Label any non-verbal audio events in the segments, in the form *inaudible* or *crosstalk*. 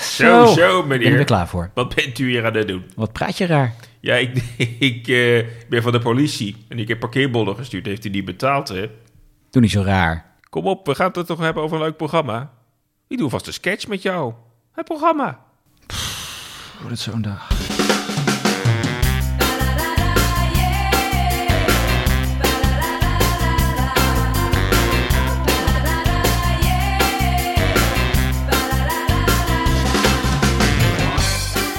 Zo, Zo, zo, ben ik er meneer. klaar voor. Wat bent u hier aan het doen? Wat praat je raar? Ja, ik, *laughs* ik eh, ben van de politie en ik heb parkeerbonnen gestuurd. Heeft u die betaald, hè? Doe niet zo raar. Kom op, we gaan het toch hebben over een leuk programma? Ik doe vast een sketch met jou. Het programma. Wordt het zo'n dag.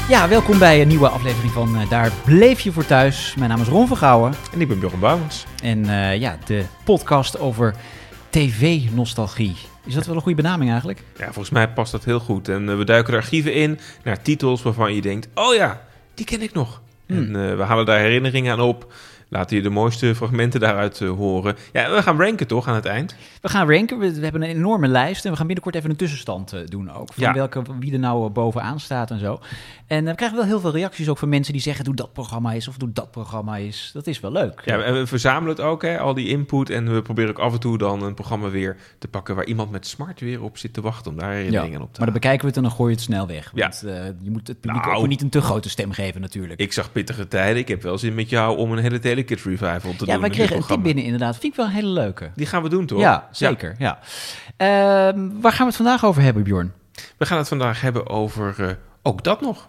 Ja, welkom bij een nieuwe aflevering van eh, Daar bleef je voor thuis. Mijn naam is Ron van Gouwen En ik ben Bjorn Bouwens. en eh, ja, de podcast over tv-nostalgie. Is dat wel een goede benaming eigenlijk? Ja, volgens mij past dat heel goed. En eh, we duiken de archieven in naar titels waarvan je denkt... Oh ja, die ken ik nog. Hm. En eh, we halen daar herinneringen aan op. Laten je de mooiste fragmenten daaruit eh, horen. Ja, en we gaan ranken toch aan het eind? We gaan ranken, we, we hebben een enorme lijst en we gaan binnenkort even een tussenstand eh, doen ook. Van Ja. welke, wie er nou eh, bovenaan staat en zo. En eh, we krijgen wel heel veel reacties ook van mensen die zeggen doe dat programma is of doe dat programma is. Dat is wel leuk. Ja, en we verzamelen het ook, hè, al die input. En we proberen ook af en toe dan een programma weer te pakken... waar iemand met smart weer op zit te wachten om daar herinneringen Ja, aan op te maar halen. dan bekijken we het en dan gooi je het snel weg. Ja. Want eh, je moet het publiek Nou. ook weer niet een te grote stem geven natuurlijk. Ik zag pittige tijden. Ik heb wel zin met jou om een hele Telekids revival te doen. ja, wij met dit kregen een tip programma. binnen inderdaad. Vind ik wel een hele leuke. Die gaan we doen, toch? Ja, zeker. Ja. Ehm, waar gaan we het vandaag over hebben, Bjorn? We gaan het vandaag hebben over eh, ook dat nog.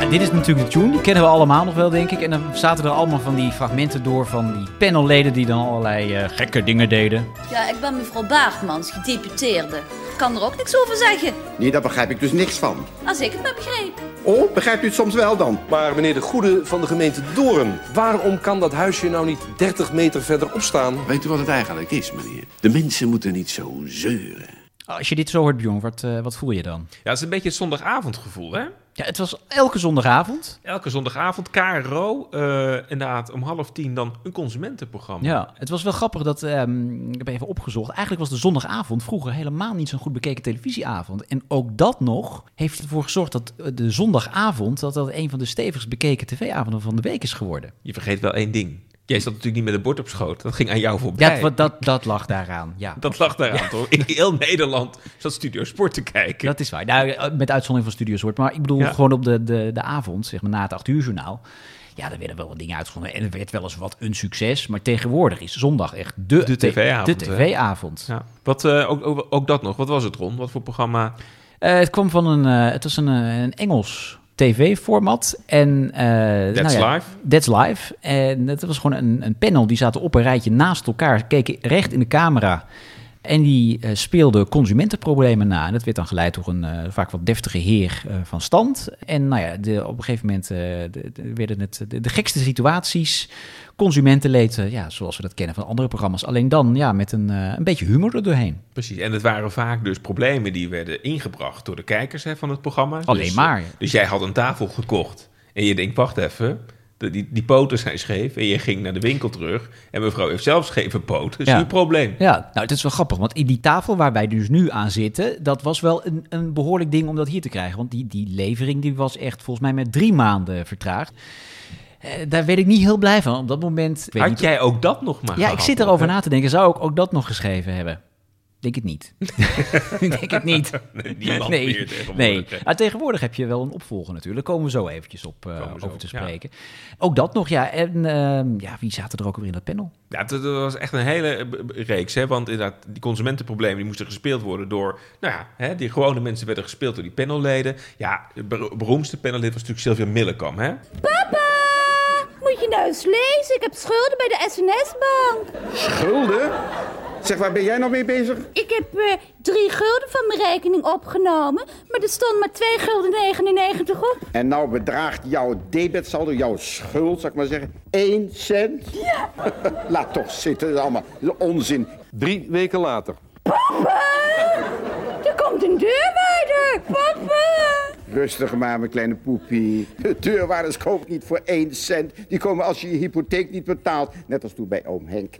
Ja, dit is natuurlijk de tune, die kennen we allemaal nog wel, denk ik. En dan zaten er allemaal van die fragmenten door van die panelleden die dan allerlei eh, gekke dingen deden. Ja, ik ben mevrouw Baartmans, gedeputeerde. Ik kan er ook niks over zeggen, Nee, daar begrijp ik dus niks van. als ik het maar begreep. Oh, begrijpt u het soms wel dan? Maar meneer de Goede van de gemeente Doorn, waarom kan dat huisje nou niet 30 meter verderop staan? Weet u wat het eigenlijk is, meneer? De mensen moeten niet zo zeuren. Als je dit zo hoort, Bjorn, wat, eh, wat voel je dan? Ja, het is een beetje het zondagavondgevoel, hè? Ja, het was elke zondagavond. Elke zondagavond, KRO, eh, inderdaad, om half tien dan een consumentenprogramma. Ja, het was wel grappig dat, ehm, ik heb even opgezocht, eigenlijk was de zondagavond vroeger helemaal niet zo'n goed bekeken televisieavond. En ook dat nog heeft ervoor gezorgd dat eh, de zondagavond, dat dat een van de stevigst bekeken tv-avonden van de week is geworden. Je vergeet wel één ding. Jij zat natuurlijk niet met een bord op schoot. Dat ging aan jou voorbij. Ja, dat, dat, dat lag daaraan, ja. Dat lag daaraan, toch? In heel Nederland zat Studio Sport te kijken. Dat is waar. Nou, met uitzondering van Studio Soort. Maar ik bedoel, Ja. gewoon op de, de, de avond, zeg maar na het 8 uur journaal. Ja, daar werden wel wat dingen uitgezonden. En er werd wel eens wat een succes. Maar tegenwoordig is zondag echt De de, te- TV-avond, De hè? tv-avond. Ja. Wat, eh, ook, ook, ook dat nog. Wat was het, Ron? Wat voor programma? Eh, het kwam van een... eh, het was een, eh, een Engels tv-format. En, eh, That's nou ja, Live? That's Live. En het was gewoon een, een panel. Die zaten op een rijtje naast elkaar. Keken recht in de camera. En die eh, speelden consumentenproblemen na. En dat werd dan geleid door een eh, vaak wat deftige heer eh, van stand. En nou ja, de, op een gegeven moment eh, de- de- werden het de, de gekste situaties. Consumentenleed, eh, ja, zoals we dat kennen van andere programma's. Alleen dan ja, met een, eh, een beetje humor er doorheen. Precies, en het waren vaak dus problemen die werden ingebracht door de kijkers hè, van het programma. Alleen dus, maar. Dus jij had een tafel gekocht en je denkt, wacht even, de- die, die poten zijn scheef. En je ging naar de winkel terug en mevrouw heeft zelf scheve poten. Dat is Ja. uw probleem. Ja, nou, het is wel grappig, want in die tafel waar wij dus nu aan zitten, dat was wel een, een behoorlijk ding om dat hier te krijgen. Want die, die levering die was echt volgens mij met drie maanden vertraagd. Eh, daar werd ik niet heel blij van. Op dat moment. ik weet Had niet- jij ook dat nog maar ja, ik gehad, zit erover na te denken. Zou ik ook dat nog geschreven hebben? Denk het niet. *laughs* ik denk het niet. Nee, *laughs* *laughs* niemand nee, meer tegenwoordig, nee. hè. Maar tegenwoordig heb je wel een opvolger natuurlijk. Daar komen we zo eventjes op eh, Komen we zo over te op, ja. spreken. Ook dat nog, ja. En ehm, ja, wie zaten er ook weer in dat panel? Ja, dat dat was echt een hele eh, b- b- reeks. Hè? Want inderdaad, die consumentenproblemen die moesten gespeeld worden door... Nou ja, hè, die gewone mensen werden gespeeld door die panelleden. Ja, het ber- beroemdste panellid was natuurlijk Sylvia Millekam, hè? Papa, moet je nou eens lezen? Ik heb schulden bij de SNS-bank. Gulden? Zeg, waar ben jij nou mee bezig? Ik heb eh, drie gulden van mijn rekening opgenomen, maar er stond maar 2 gulden 99 op. En nou bedraagt jouw debetsaldo, jouw schuld, zal ik maar zeggen, 1 cent? Ja. *laughs* Laat toch zitten, dat is allemaal onzin. Drie weken later. Er komt een deurwaarder, papa. Rustig maar, mijn kleine poepie. De deurwaarders kopen niet voor 1 cent. Die komen als je je hypotheek niet betaalt. Net als toen bij oom Henk.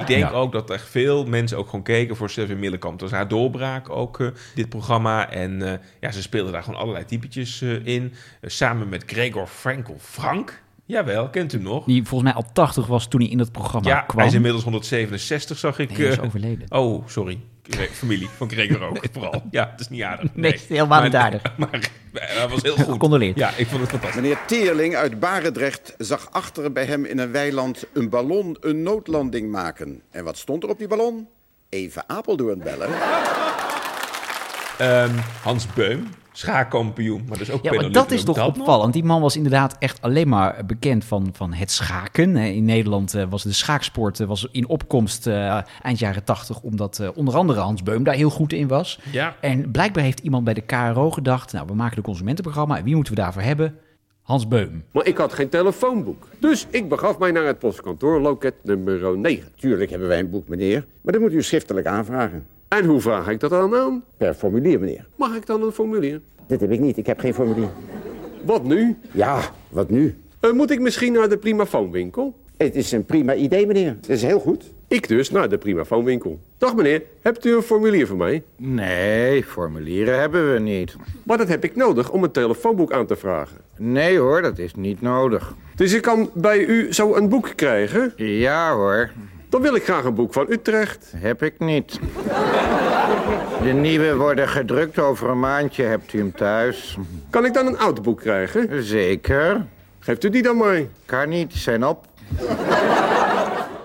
Ik denk Ja. ook dat echt veel mensen ook gewoon keken voor Sylvia Millekamp. Dat was haar doorbraak ook, eh, dit programma. En eh, ja, ze speelde daar gewoon allerlei typetjes eh, in. Eh, samen met Gregor Frankel Frank. Jawel, kent u hem nog? Die volgens mij al 80 was toen hij in dat programma ja, kwam. hij is inmiddels 167, zag ik. Nee, hij is eh, overleden. oh, sorry. Gre- Familie van Gregor ook, vooral. Ja, het is niet aardig. Nee, helemaal niet aardig. *laughs* Maar, maar hij was heel goed. Gecondoleerd. Ja, ik vond het fantastisch. Meneer Teerling uit Barendrecht zag achter bij hem in een weiland een ballon een noodlanding maken. En wat stond er op die ballon? Even Apeldoorn bellen. Ehm, Hans Beum, schaakkampioen. Maar dus ook Ja, maar pedalist. dat is Ook toch nog. opvallend. Die man was inderdaad echt alleen maar bekend van, van het schaken. Eh, In Nederland eh, was de schaaksport eh, was in opkomst eh, eind jaren tachtig... omdat eh, onder andere Hans Beum daar heel goed in was. Ja. En blijkbaar heeft iemand bij de KRO gedacht... nou, we maken een consumentenprogramma en wie moeten we daarvoor hebben? Hans Beum. Maar ik had geen telefoonboek. Dus ik begaf mij naar het postkantoor, loket nummer 9. Tuurlijk hebben wij een boek, meneer. Maar dat moet u schriftelijk aanvragen. En hoe vraag ik dat dan aan? Per formulier, meneer. Mag ik dan een formulier? Dit heb ik niet. Ik heb geen formulier. Wat nu? Ja, wat nu? Eh, moet ik misschien naar de primafoonwinkel? Het is een prima idee, meneer. Het is heel goed. Ik dus naar de primafoonwinkel. Dag meneer, hebt u een formulier voor mij? Nee, formulieren hebben we niet. Maar dat heb ik nodig om een telefoonboek aan te vragen. Nee hoor, dat is niet nodig. Dus ik kan bij u zo een boek krijgen? Ja hoor, Dan wil ik graag een boek van Utrecht. heb ik niet. De nieuwe worden gedrukt over een maandje, hebt u hem thuis? Kan ik dan een oud boek krijgen? Zeker. Geeft u die dan mij? Kan niet, zijn op.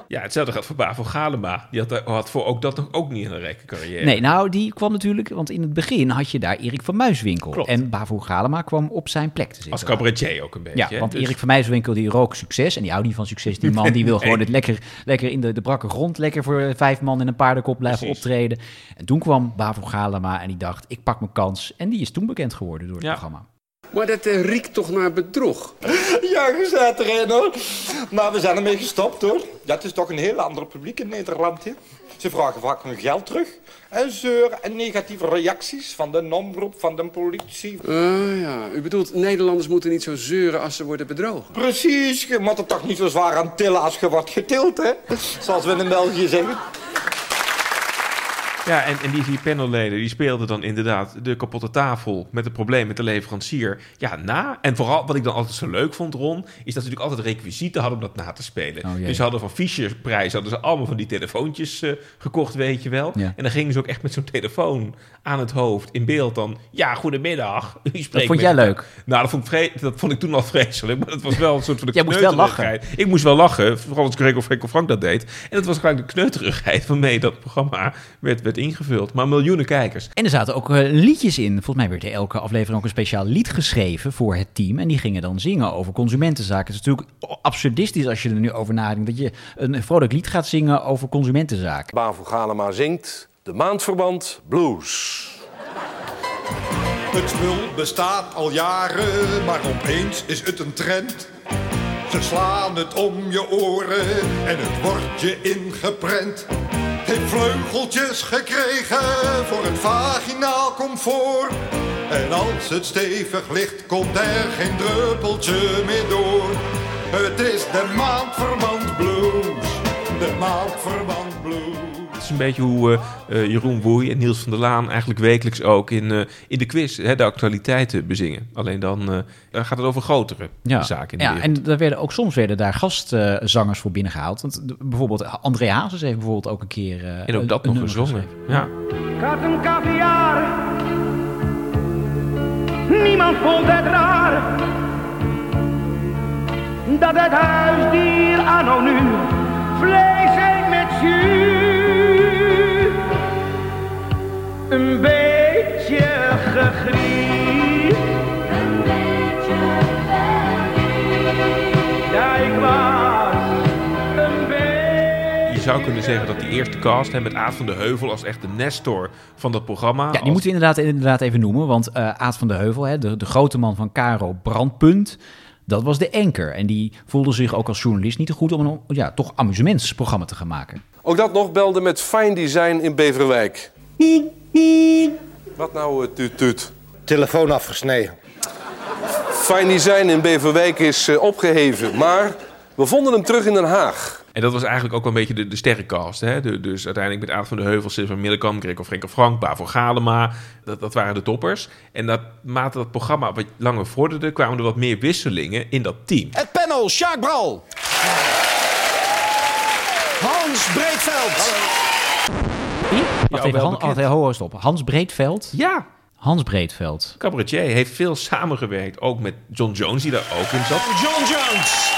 Ja, hetzelfde geldt voor Bavo Galema. Die had, daar- had voor ook dat nog ook niet een rijke carrière. Nee, nou, die kwam natuurlijk... want in het begin had je daar Erik van Muiswinkel. Klopt. En Bavo Galema kwam op zijn plek te zitten. Als cabaretier ook een beetje. Ja, hè? want Dus- Erik van Muiswinkel die rookt succes en die houdt niet van succes. Die man *laughs* die wil gewoon het lekker, lekker in de, de brakke grond, lekker voor eh, vijf man en een paardenkop blijven Precies. optreden. En toen kwam Bavo Galema en die dacht, ik pak mijn kans. En die is toen bekend geworden door het Ja. programma. Maar dat eh, riekt toch naar bedrog? Ja, je staat erin hoor. Maar we zijn ermee gestopt hoor. Dat is toch een heel ander publiek in Nederland. Hè? Ze vragen vaak hun geld terug. En zeuren en negatieve reacties van de omroep, van de politie. Ah ja, u bedoelt Nederlanders moeten niet zo zeuren als ze worden bedrogen. Precies, je moet er toch niet zo zwaar aan tillen als je wordt getild, hè? Zoals we in België zeggen. Ja, en, en die vier panelleden die speelden dan inderdaad de kapotte tafel met het probleem met de leverancier. Ja, na. En vooral wat ik dan altijd zo leuk vond, Ron, is dat ze natuurlijk altijd requisieten hadden om dat na te spelen. Oh, jee. dus ze hadden van Fischerprijs hadden ze allemaal van die telefoontjes eh, gekocht, weet je wel. Ja. En dan gingen ze ook echt met zo'n telefoon aan het hoofd in beeld dan. Ja, goedemiddag. U spreekt Dat vond met- jij leuk. Nou, dat vond, ik vre- dat vond ik toen al vreselijk, maar dat was wel een soort van de Jij moest wel kneuterigheid. Ik moest wel lachen, vooral als Gregor Frenkel Frank dat deed. En dat was gelijk de kneuterigheid waarmee dat programma werd, werd ingevuld. Maar miljoenen kijkers. En er zaten ook eh, liedjes in. Volgens mij werd er elke aflevering ook een speciaal lied geschreven voor het team. En die gingen dan zingen over consumentenzaken. Het is natuurlijk absurdistisch als je er nu over nadenkt. Dat je een vrolijk lied gaat zingen over consumentenzaken. Bavo Galema zingt de maandverband blues. Het spul bestaat al jaren, maar opeens is het een trend. Ze slaan het om je oren en het wordt je ingeprent. Heeft vleugeltjes gekregen voor het vaginaal comfort. En als het stevig ligt, komt er geen druppeltje meer door. Het is de maandverband blues, de maandverband blues. Dat is een beetje hoe eh, eh, Jeroen Woei en Niels van der Laan eigenlijk wekelijks ook in, eh, in de quiz hè, de actualiteiten bezingen. Alleen dan eh, dan gaat het over grotere zaken in de ja wereld. en daar werden ook soms werden daar gastzangers voor binnengehaald. Want de- bijvoorbeeld André Hazes heeft bijvoorbeeld ook een keer. eh, En ook dat een nog nummer gezongen. geschreven. Ja. Katten caviar. Niemand vond het raar dat het huisdier anno nu vlees eet met jus. Een beetje gegriefd. Ja, ik was een beetje. Je zou kunnen zeggen dat die eerste cast, hè, met Aad van de Heuvel als echt de Nestor van dat programma. Ja, die als- moeten we inderdaad, inderdaad even noemen. Want eh, Aad van de Heuvel, hè, de, de grote man van Caro Brandpunt. Dat was de enker. En die voelde zich ook als journalist niet te goed om een ja, toch amusementsprogramma te gaan maken. Ook dat nog belde met Fine Design in Beverwijk. Wat nou, eh, tuut tuut? Telefoon afgesneden. Fine Design in Beverwijk is eh, opgeheven, maar we vonden hem terug in Den Haag. En dat was eigenlijk ook wel een beetje de, de sterrencast. Hè? De- dus uiteindelijk met Aad van de Heuvel, Silver Middelkamp, Gregor Frenkel Frank, Bavo Galema. Dat, dat waren de toppers. En naarmate dat programma wat langer vorderde, kwamen er wat meer wisselingen in dat team. Het panel Bral, Sjaak Bral. Hans Breedveld. Wie? Wacht even, Han, wacht, ho, ho, stop. Hans Breedveld? Ja. Hans Breedveld. Cabaretier heeft veel samengewerkt. Ook met John Jones, die daar ook in zat. John Jones.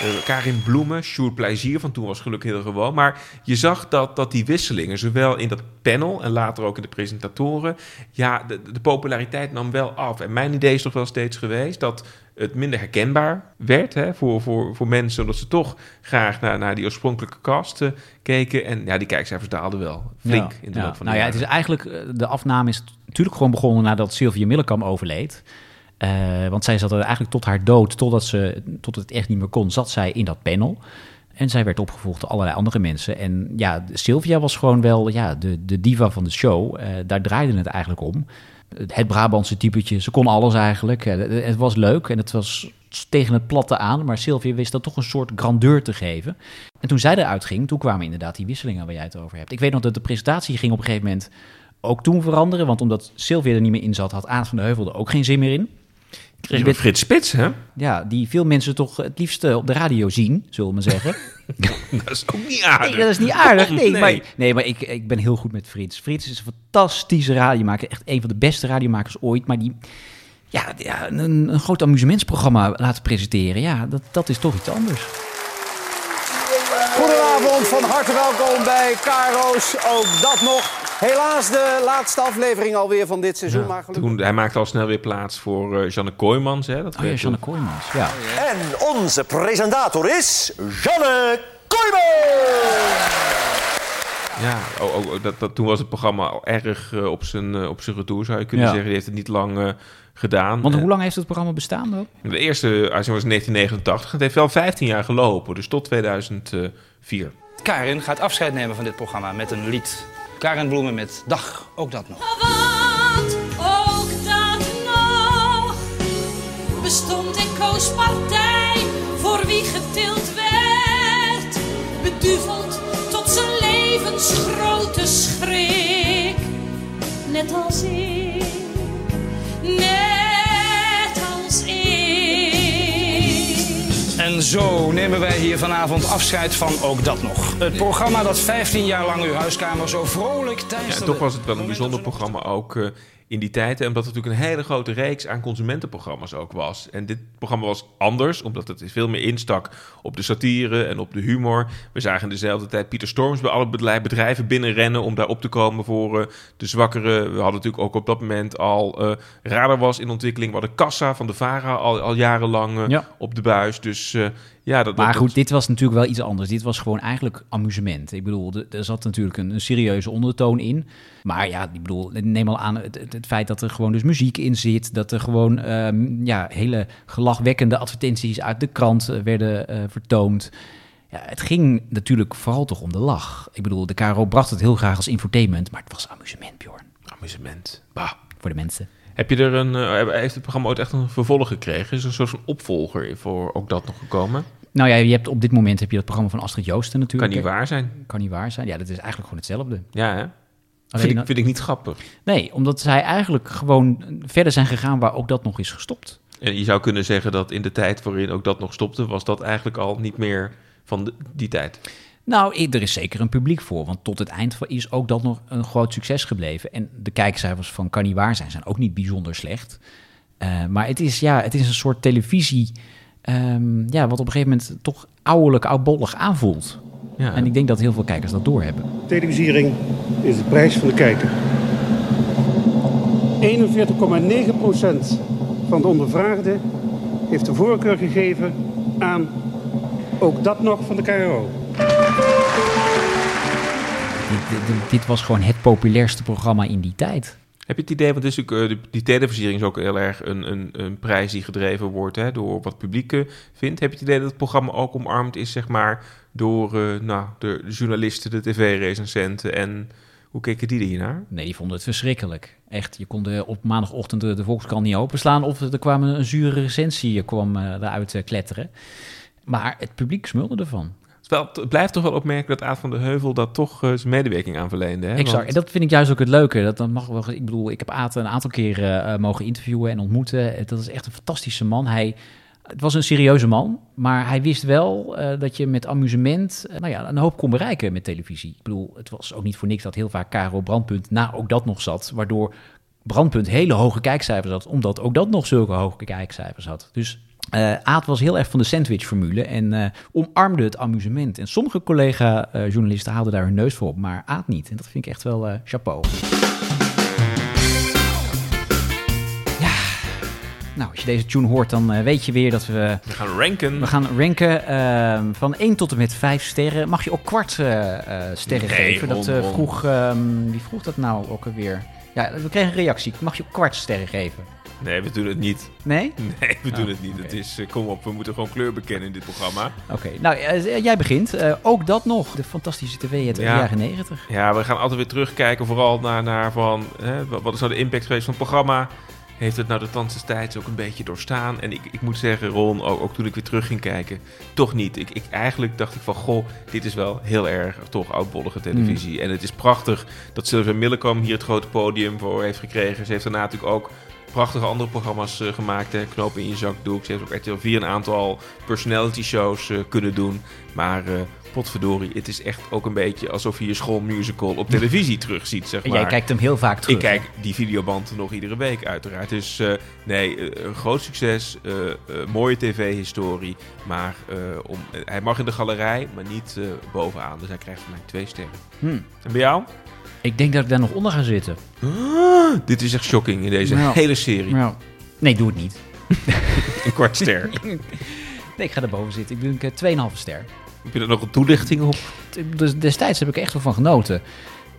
Eh, Karin Bloemen, Sjoerd Plezier van toen was gelukkig heel gewoon. Maar je zag dat, dat die wisselingen, zowel in dat panel en later ook in de presentatoren, ja, de, de populariteit nam wel af. En mijn idee is toch wel steeds geweest dat het minder herkenbaar werd hè, voor, voor, voor mensen, omdat ze toch graag naar, naar die oorspronkelijke cast eh, keken. En ja, die kijkcijfers daalden wel flink Ja, in de ja. loop van de Nou ja, het jaren. is eigenlijk, eh, de afname is natuurlijk gewoon begonnen nadat Sylvia Millekam overleed. Eh, want zij zat er eigenlijk tot haar dood, totdat ze tot het echt niet meer kon, zat zij in dat panel. En zij werd opgevolgd door allerlei andere mensen. En ja, Sylvia was gewoon wel ja, de, de diva van de show. Eh, daar draaide het eigenlijk om. Het Brabantse typetje, ze kon alles eigenlijk. Eh, het- het was leuk en het was tegen het platte aan. Maar Sylvia wist dat toch een soort grandeur te geven. En toen zij eruit ging, toen kwamen inderdaad die wisselingen waar jij het over hebt. Ik weet nog dat de presentatie ging op een gegeven moment ook toen veranderen. Want omdat Sylvia er niet meer in zat, had Aan van de Heuvel er ook geen zin meer in. Kreeg je Frits Spits, *laughs* hè? Ja, die veel mensen toch het liefst eh, op de radio zien, zullen we maar zeggen. Dat is ook niet aardig. Nee, dat is niet aardig. Nee, Nee. maar, nee, maar ik, ik ben heel goed met Frits. Frits is een fantastische radiomaker. Echt een van de beste radiomakers ooit. Maar die ja, ja, een, een groot amusementsprogramma laten presenteren, ja, dat, dat is toch iets anders. Goedenavond, van harte welkom bij Karo's. Ook dat nog. Helaas de laatste aflevering alweer van dit seizoen. maar gelukkig. Toen, hij maakte al snel weer plaats voor eh, Janne Kooijmans. Hè? Dat Oh ja, werd- Janne Kooijmans, ja. En onze presentator is Janne Kooijman. Ja, ook, ook- ook dat, dat, toen was het programma al erg eh, op, zijn, eh, op zijn retour, zou je kunnen Ja. zeggen. Die heeft het niet lang eh, gedaan. Want Eh, hoe lang heeft het programma bestaan dan? de eerste uitzending was in 1989. Het heeft wel 15 jaar gelopen, dus tot 2004. Karin gaat afscheid nemen van dit programma met een lied. Karin Bloemen met Dag, ook dat nog. Want ook dan nog bestond en koos partij voor wie getild werd, beduveld tot zijn levensgrote schrik. Net als ik, net als ik. En zo nemen wij hier vanavond afscheid van ook dat nog. Het programma dat 15 jaar lang uw huiskamer zo vrolijk Ja, tijdens en toch was het wel een bijzonder programma "Oh, ook eh, in die tijd. En omdat het natuurlijk een hele grote reeks aan consumentenprogramma's ook was. En dit programma was anders, omdat het veel meer instak op de satire en op de humor. We zagen in dezelfde tijd Pieter Storms bij alle bedrij- bedrijven binnenrennen om daar op te komen voor eh, de zwakkeren. We hadden natuurlijk ook op dat moment al eh, Radar was in ontwikkeling. We hadden Kassa van de VARA al, al jarenlang eh, Ja. op de buis. Dus eh, ja, dat, Maar dat- goed, dit was natuurlijk wel iets anders. Dit was gewoon eigenlijk amusement. Ik bedoel, de- er zat natuurlijk een, een serieuze ondertoon in. Maar ja, ik bedoel, neem al aan het, het, het feit dat er gewoon dus muziek in zit. Dat er gewoon ehm, ja, hele gelachwekkende advertenties uit de krant eh, werden eh, vertoond. Ja, het ging natuurlijk vooral toch om de lach. Ik bedoel, de KRO bracht het heel graag als infotainment, maar het was amusement, Bjorn. Amusement. Bah. Voor de mensen. Heb je er een, eh, heeft het programma ooit echt een vervolg gekregen? Is er een soort van opvolger voor ook dat nog gekomen? Nou ja, je hebt op dit moment heb je dat programma van Astrid Joosten natuurlijk. Kan niet hè? waar zijn. Kan niet waar zijn. Ja, dat is eigenlijk gewoon hetzelfde. Ja, hè? Alleen Vind ik, dat- vind ik niet grappig. Nee, omdat zij eigenlijk gewoon verder zijn gegaan waar ook dat nog is gestopt. En je zou kunnen zeggen dat in de tijd waarin ook dat nog stopte, was dat eigenlijk al niet meer van de- die tijd. Nou, i- er is zeker een publiek voor, want tot het eind van- is ook dat nog een groot succes gebleven. En de kijkcijfers van Kan Niet Waar Zijn zijn ook niet bijzonder slecht. Eh, maar het is, ja, het is een soort televisie ehm, ja, wat op een gegeven moment toch ouderlijk, oudbollig aanvoelt. Ja. En ik denk dat heel veel kijkers dat doorhebben. Televisiering is de prijs van de kijker. 41,9% van de ondervraagden heeft de voorkeur gegeven aan ook dat nog van de KRO. Dit, dit- dit- dit was gewoon het populairste programma in die tijd. Heb je het idee, want het is natuurlijk, eh, de- die televisiering is ook heel erg een, een, een prijs die gedreven wordt hè, door wat het publiek eh, vindt. Heb je het idee dat het programma ook omarmd is, zeg maar, door eh, nou, de journalisten, de tv-recensenten en hoe keken die hiernaar? Nee, die vonden het verschrikkelijk. Echt, je kon de, op maandagochtend de, de Volkskrant niet openslaan... of er kwam een, een zure recensie je kwam eh, eruit eh, kletteren. Maar het publiek smulde ervan. Het, is wel- het blijft toch wel opmerken dat Aad van de Heuvel daar toch eh, zijn medewerking aan verleende. Hè? exact. Want- En dat vind ik juist ook het leuke. Dat, dat mag wel, ge- ik eh, bedoel, ik heb Aad een aantal keren eh, mogen interviewen en ontmoeten. Het- Dat is echt een fantastische man. Hij Het was een serieuze man, maar hij wist wel eh, dat je met amusement eh, nou ja, een hoop kon bereiken met televisie. Ik bedoel, het was ook niet voor niks dat heel vaak Caro Brandpunt na ook dat nog zat, waardoor Brandpunt hele hoge kijkcijfers had, omdat ook dat nog zulke hoge kijkcijfers had. Dus eh Aad was heel erg van de sandwich-formule en eh, omarmde het amusement. En sommige collega-journalisten haalden daar hun neus voor op, maar Aad niet. En dat vind ik echt wel eh, chapeau. Nou, als je deze tune hoort, dan eh, weet je weer dat we... We gaan ranken. We gaan ranken eh, van 1 tot en met 5 sterren. Mag je ook kwart eh, eh, sterren Nee, geven? Dat eh, hon, hon. vroeg... ehm, wie vroeg dat nou ook alweer? Ja, we kregen een reactie. Mag je ook kwart sterren geven? Nee, we doen het niet. Nee? Nee, we doen Oh, het niet. Het is, eh, kom op, we moeten gewoon kleur bekennen in dit programma. Oké, nou, eh, jij begint. Eh, ook dat nog. De fantastische tv uit de jaren 90. Ja, we gaan altijd weer terugkijken vooral naar, naar van, hè, wat wat is nou de impact geweest van het programma? Heeft het nou de tand des tijds ook een beetje doorstaan? En ik, ik moet zeggen, Ron, ook, ook toen ik weer terug ging kijken, toch niet. Ik, ik, eigenlijk dacht ik van, goh, dit is wel heel erg toch oudbollige televisie. Hmm. En het is prachtig dat Sylvia Millekam hier het grote podium voor heeft gekregen. Ze heeft daarna natuurlijk ook prachtige andere programma's eh, gemaakt. Hè. Knopen in je zakdoek. Ze heeft op RTL 4 een aantal personality shows eh, kunnen doen. Maar eh, potverdorie, het is echt ook een beetje alsof je je schoolmusical op televisie terugziet, zeg En maar. jij kijkt hem heel vaak terug, Ik kijk die videoband nog iedere week uiteraard. Dus eh, nee, eh, een groot succes. eh, eh, mooie tv-historie. Maar eh, om, eh, hij mag in de galerij, maar niet eh, bovenaan. Dus hij krijgt van mij twee sterren. Hmm. En bij jou? Ik denk dat ik daar nog onder ga zitten. Dit is echt shocking in deze Nou. hele serie. Nou. Nee, doe het niet. Een kwart ster. Nee, ik ga erboven zitten. Ik denk eh, 2,5 ster. *laughs* Heb je er nog een toelichting op? Dus destijds heb ik er echt wel van genoten.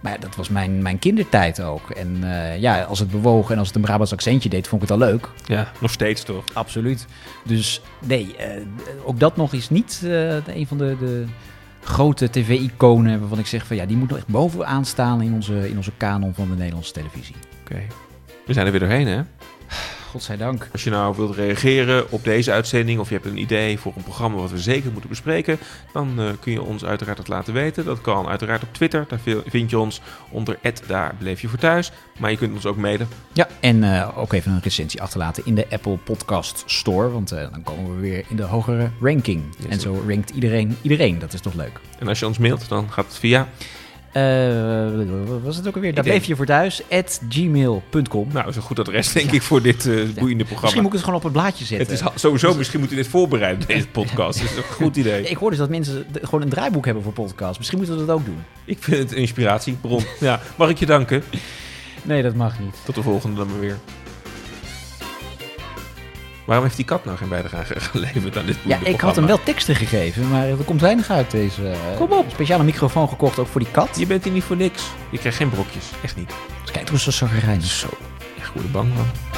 Maar ja, dat was mijn, mijn kindertijd ook. En eh, ja, als het bewoog en als het een Brabants accentje deed, vond ik het al leuk. Ja, nog steeds toch? Absoluut. Dus nee, eh, ook dat nog is niet eh, een van de, de grote tv-iconen waarvan ik zeg van ja, die moet nog echt bovenaan staan in onze, in onze kanon van de Nederlandse televisie. Oké. We zijn er weer doorheen, hè? Godzijdank. Als je nou wilt reageren op deze uitzending of je hebt een idee voor een programma wat we zeker moeten bespreken, dan eh, kun je ons uiteraard dat laten weten. Dat kan uiteraard op Twitter. Daar vi- vind je ons onder daar bleef je voor thuis. Maar je kunt ons ook mailen. Ja, en eh, ook even een recensie achterlaten in de Apple Podcast Store, want eh, dan komen we weer in de hogere ranking. en zo rankt iedereen iedereen, dat is toch leuk. En als je ons mailt, dan gaat het via. Eh, wat was het ook alweer? Daar denk- bleef je voor thuis, at gmail.com. Nou, dat is een goed adres, denk ik, voor dit eh, boeiende programma. Misschien moet ik eh, het gewoon op het blaadje zetten. Het is ha- sowieso, misschien moeten we dit voorbereiden, deze *laughs* podcast. Dat is een goed idee. Ik hoor dus dat mensen de- gewoon een draaiboek hebben voor podcasts. Misschien moeten we dat ook doen. Ik vind het een inspiratiebron. Ja, mag ik je danken? Nee, dat mag niet. Tot de volgende dan maar weer. Waarom heeft die kat nou geen bijdrage *laughs* geleverd aan dit Ja, boeiende ik had hem programma? wel teksten gegeven, maar er komt weinig uit deze. eh, Kom op. Speciale microfoon gekocht, ook voor die kat. Je bent hier niet voor niks. Je krijgt geen brokjes. Echt niet. Dus kijk, hoe ze zo gereinigd. Zo. Echt goede bang man.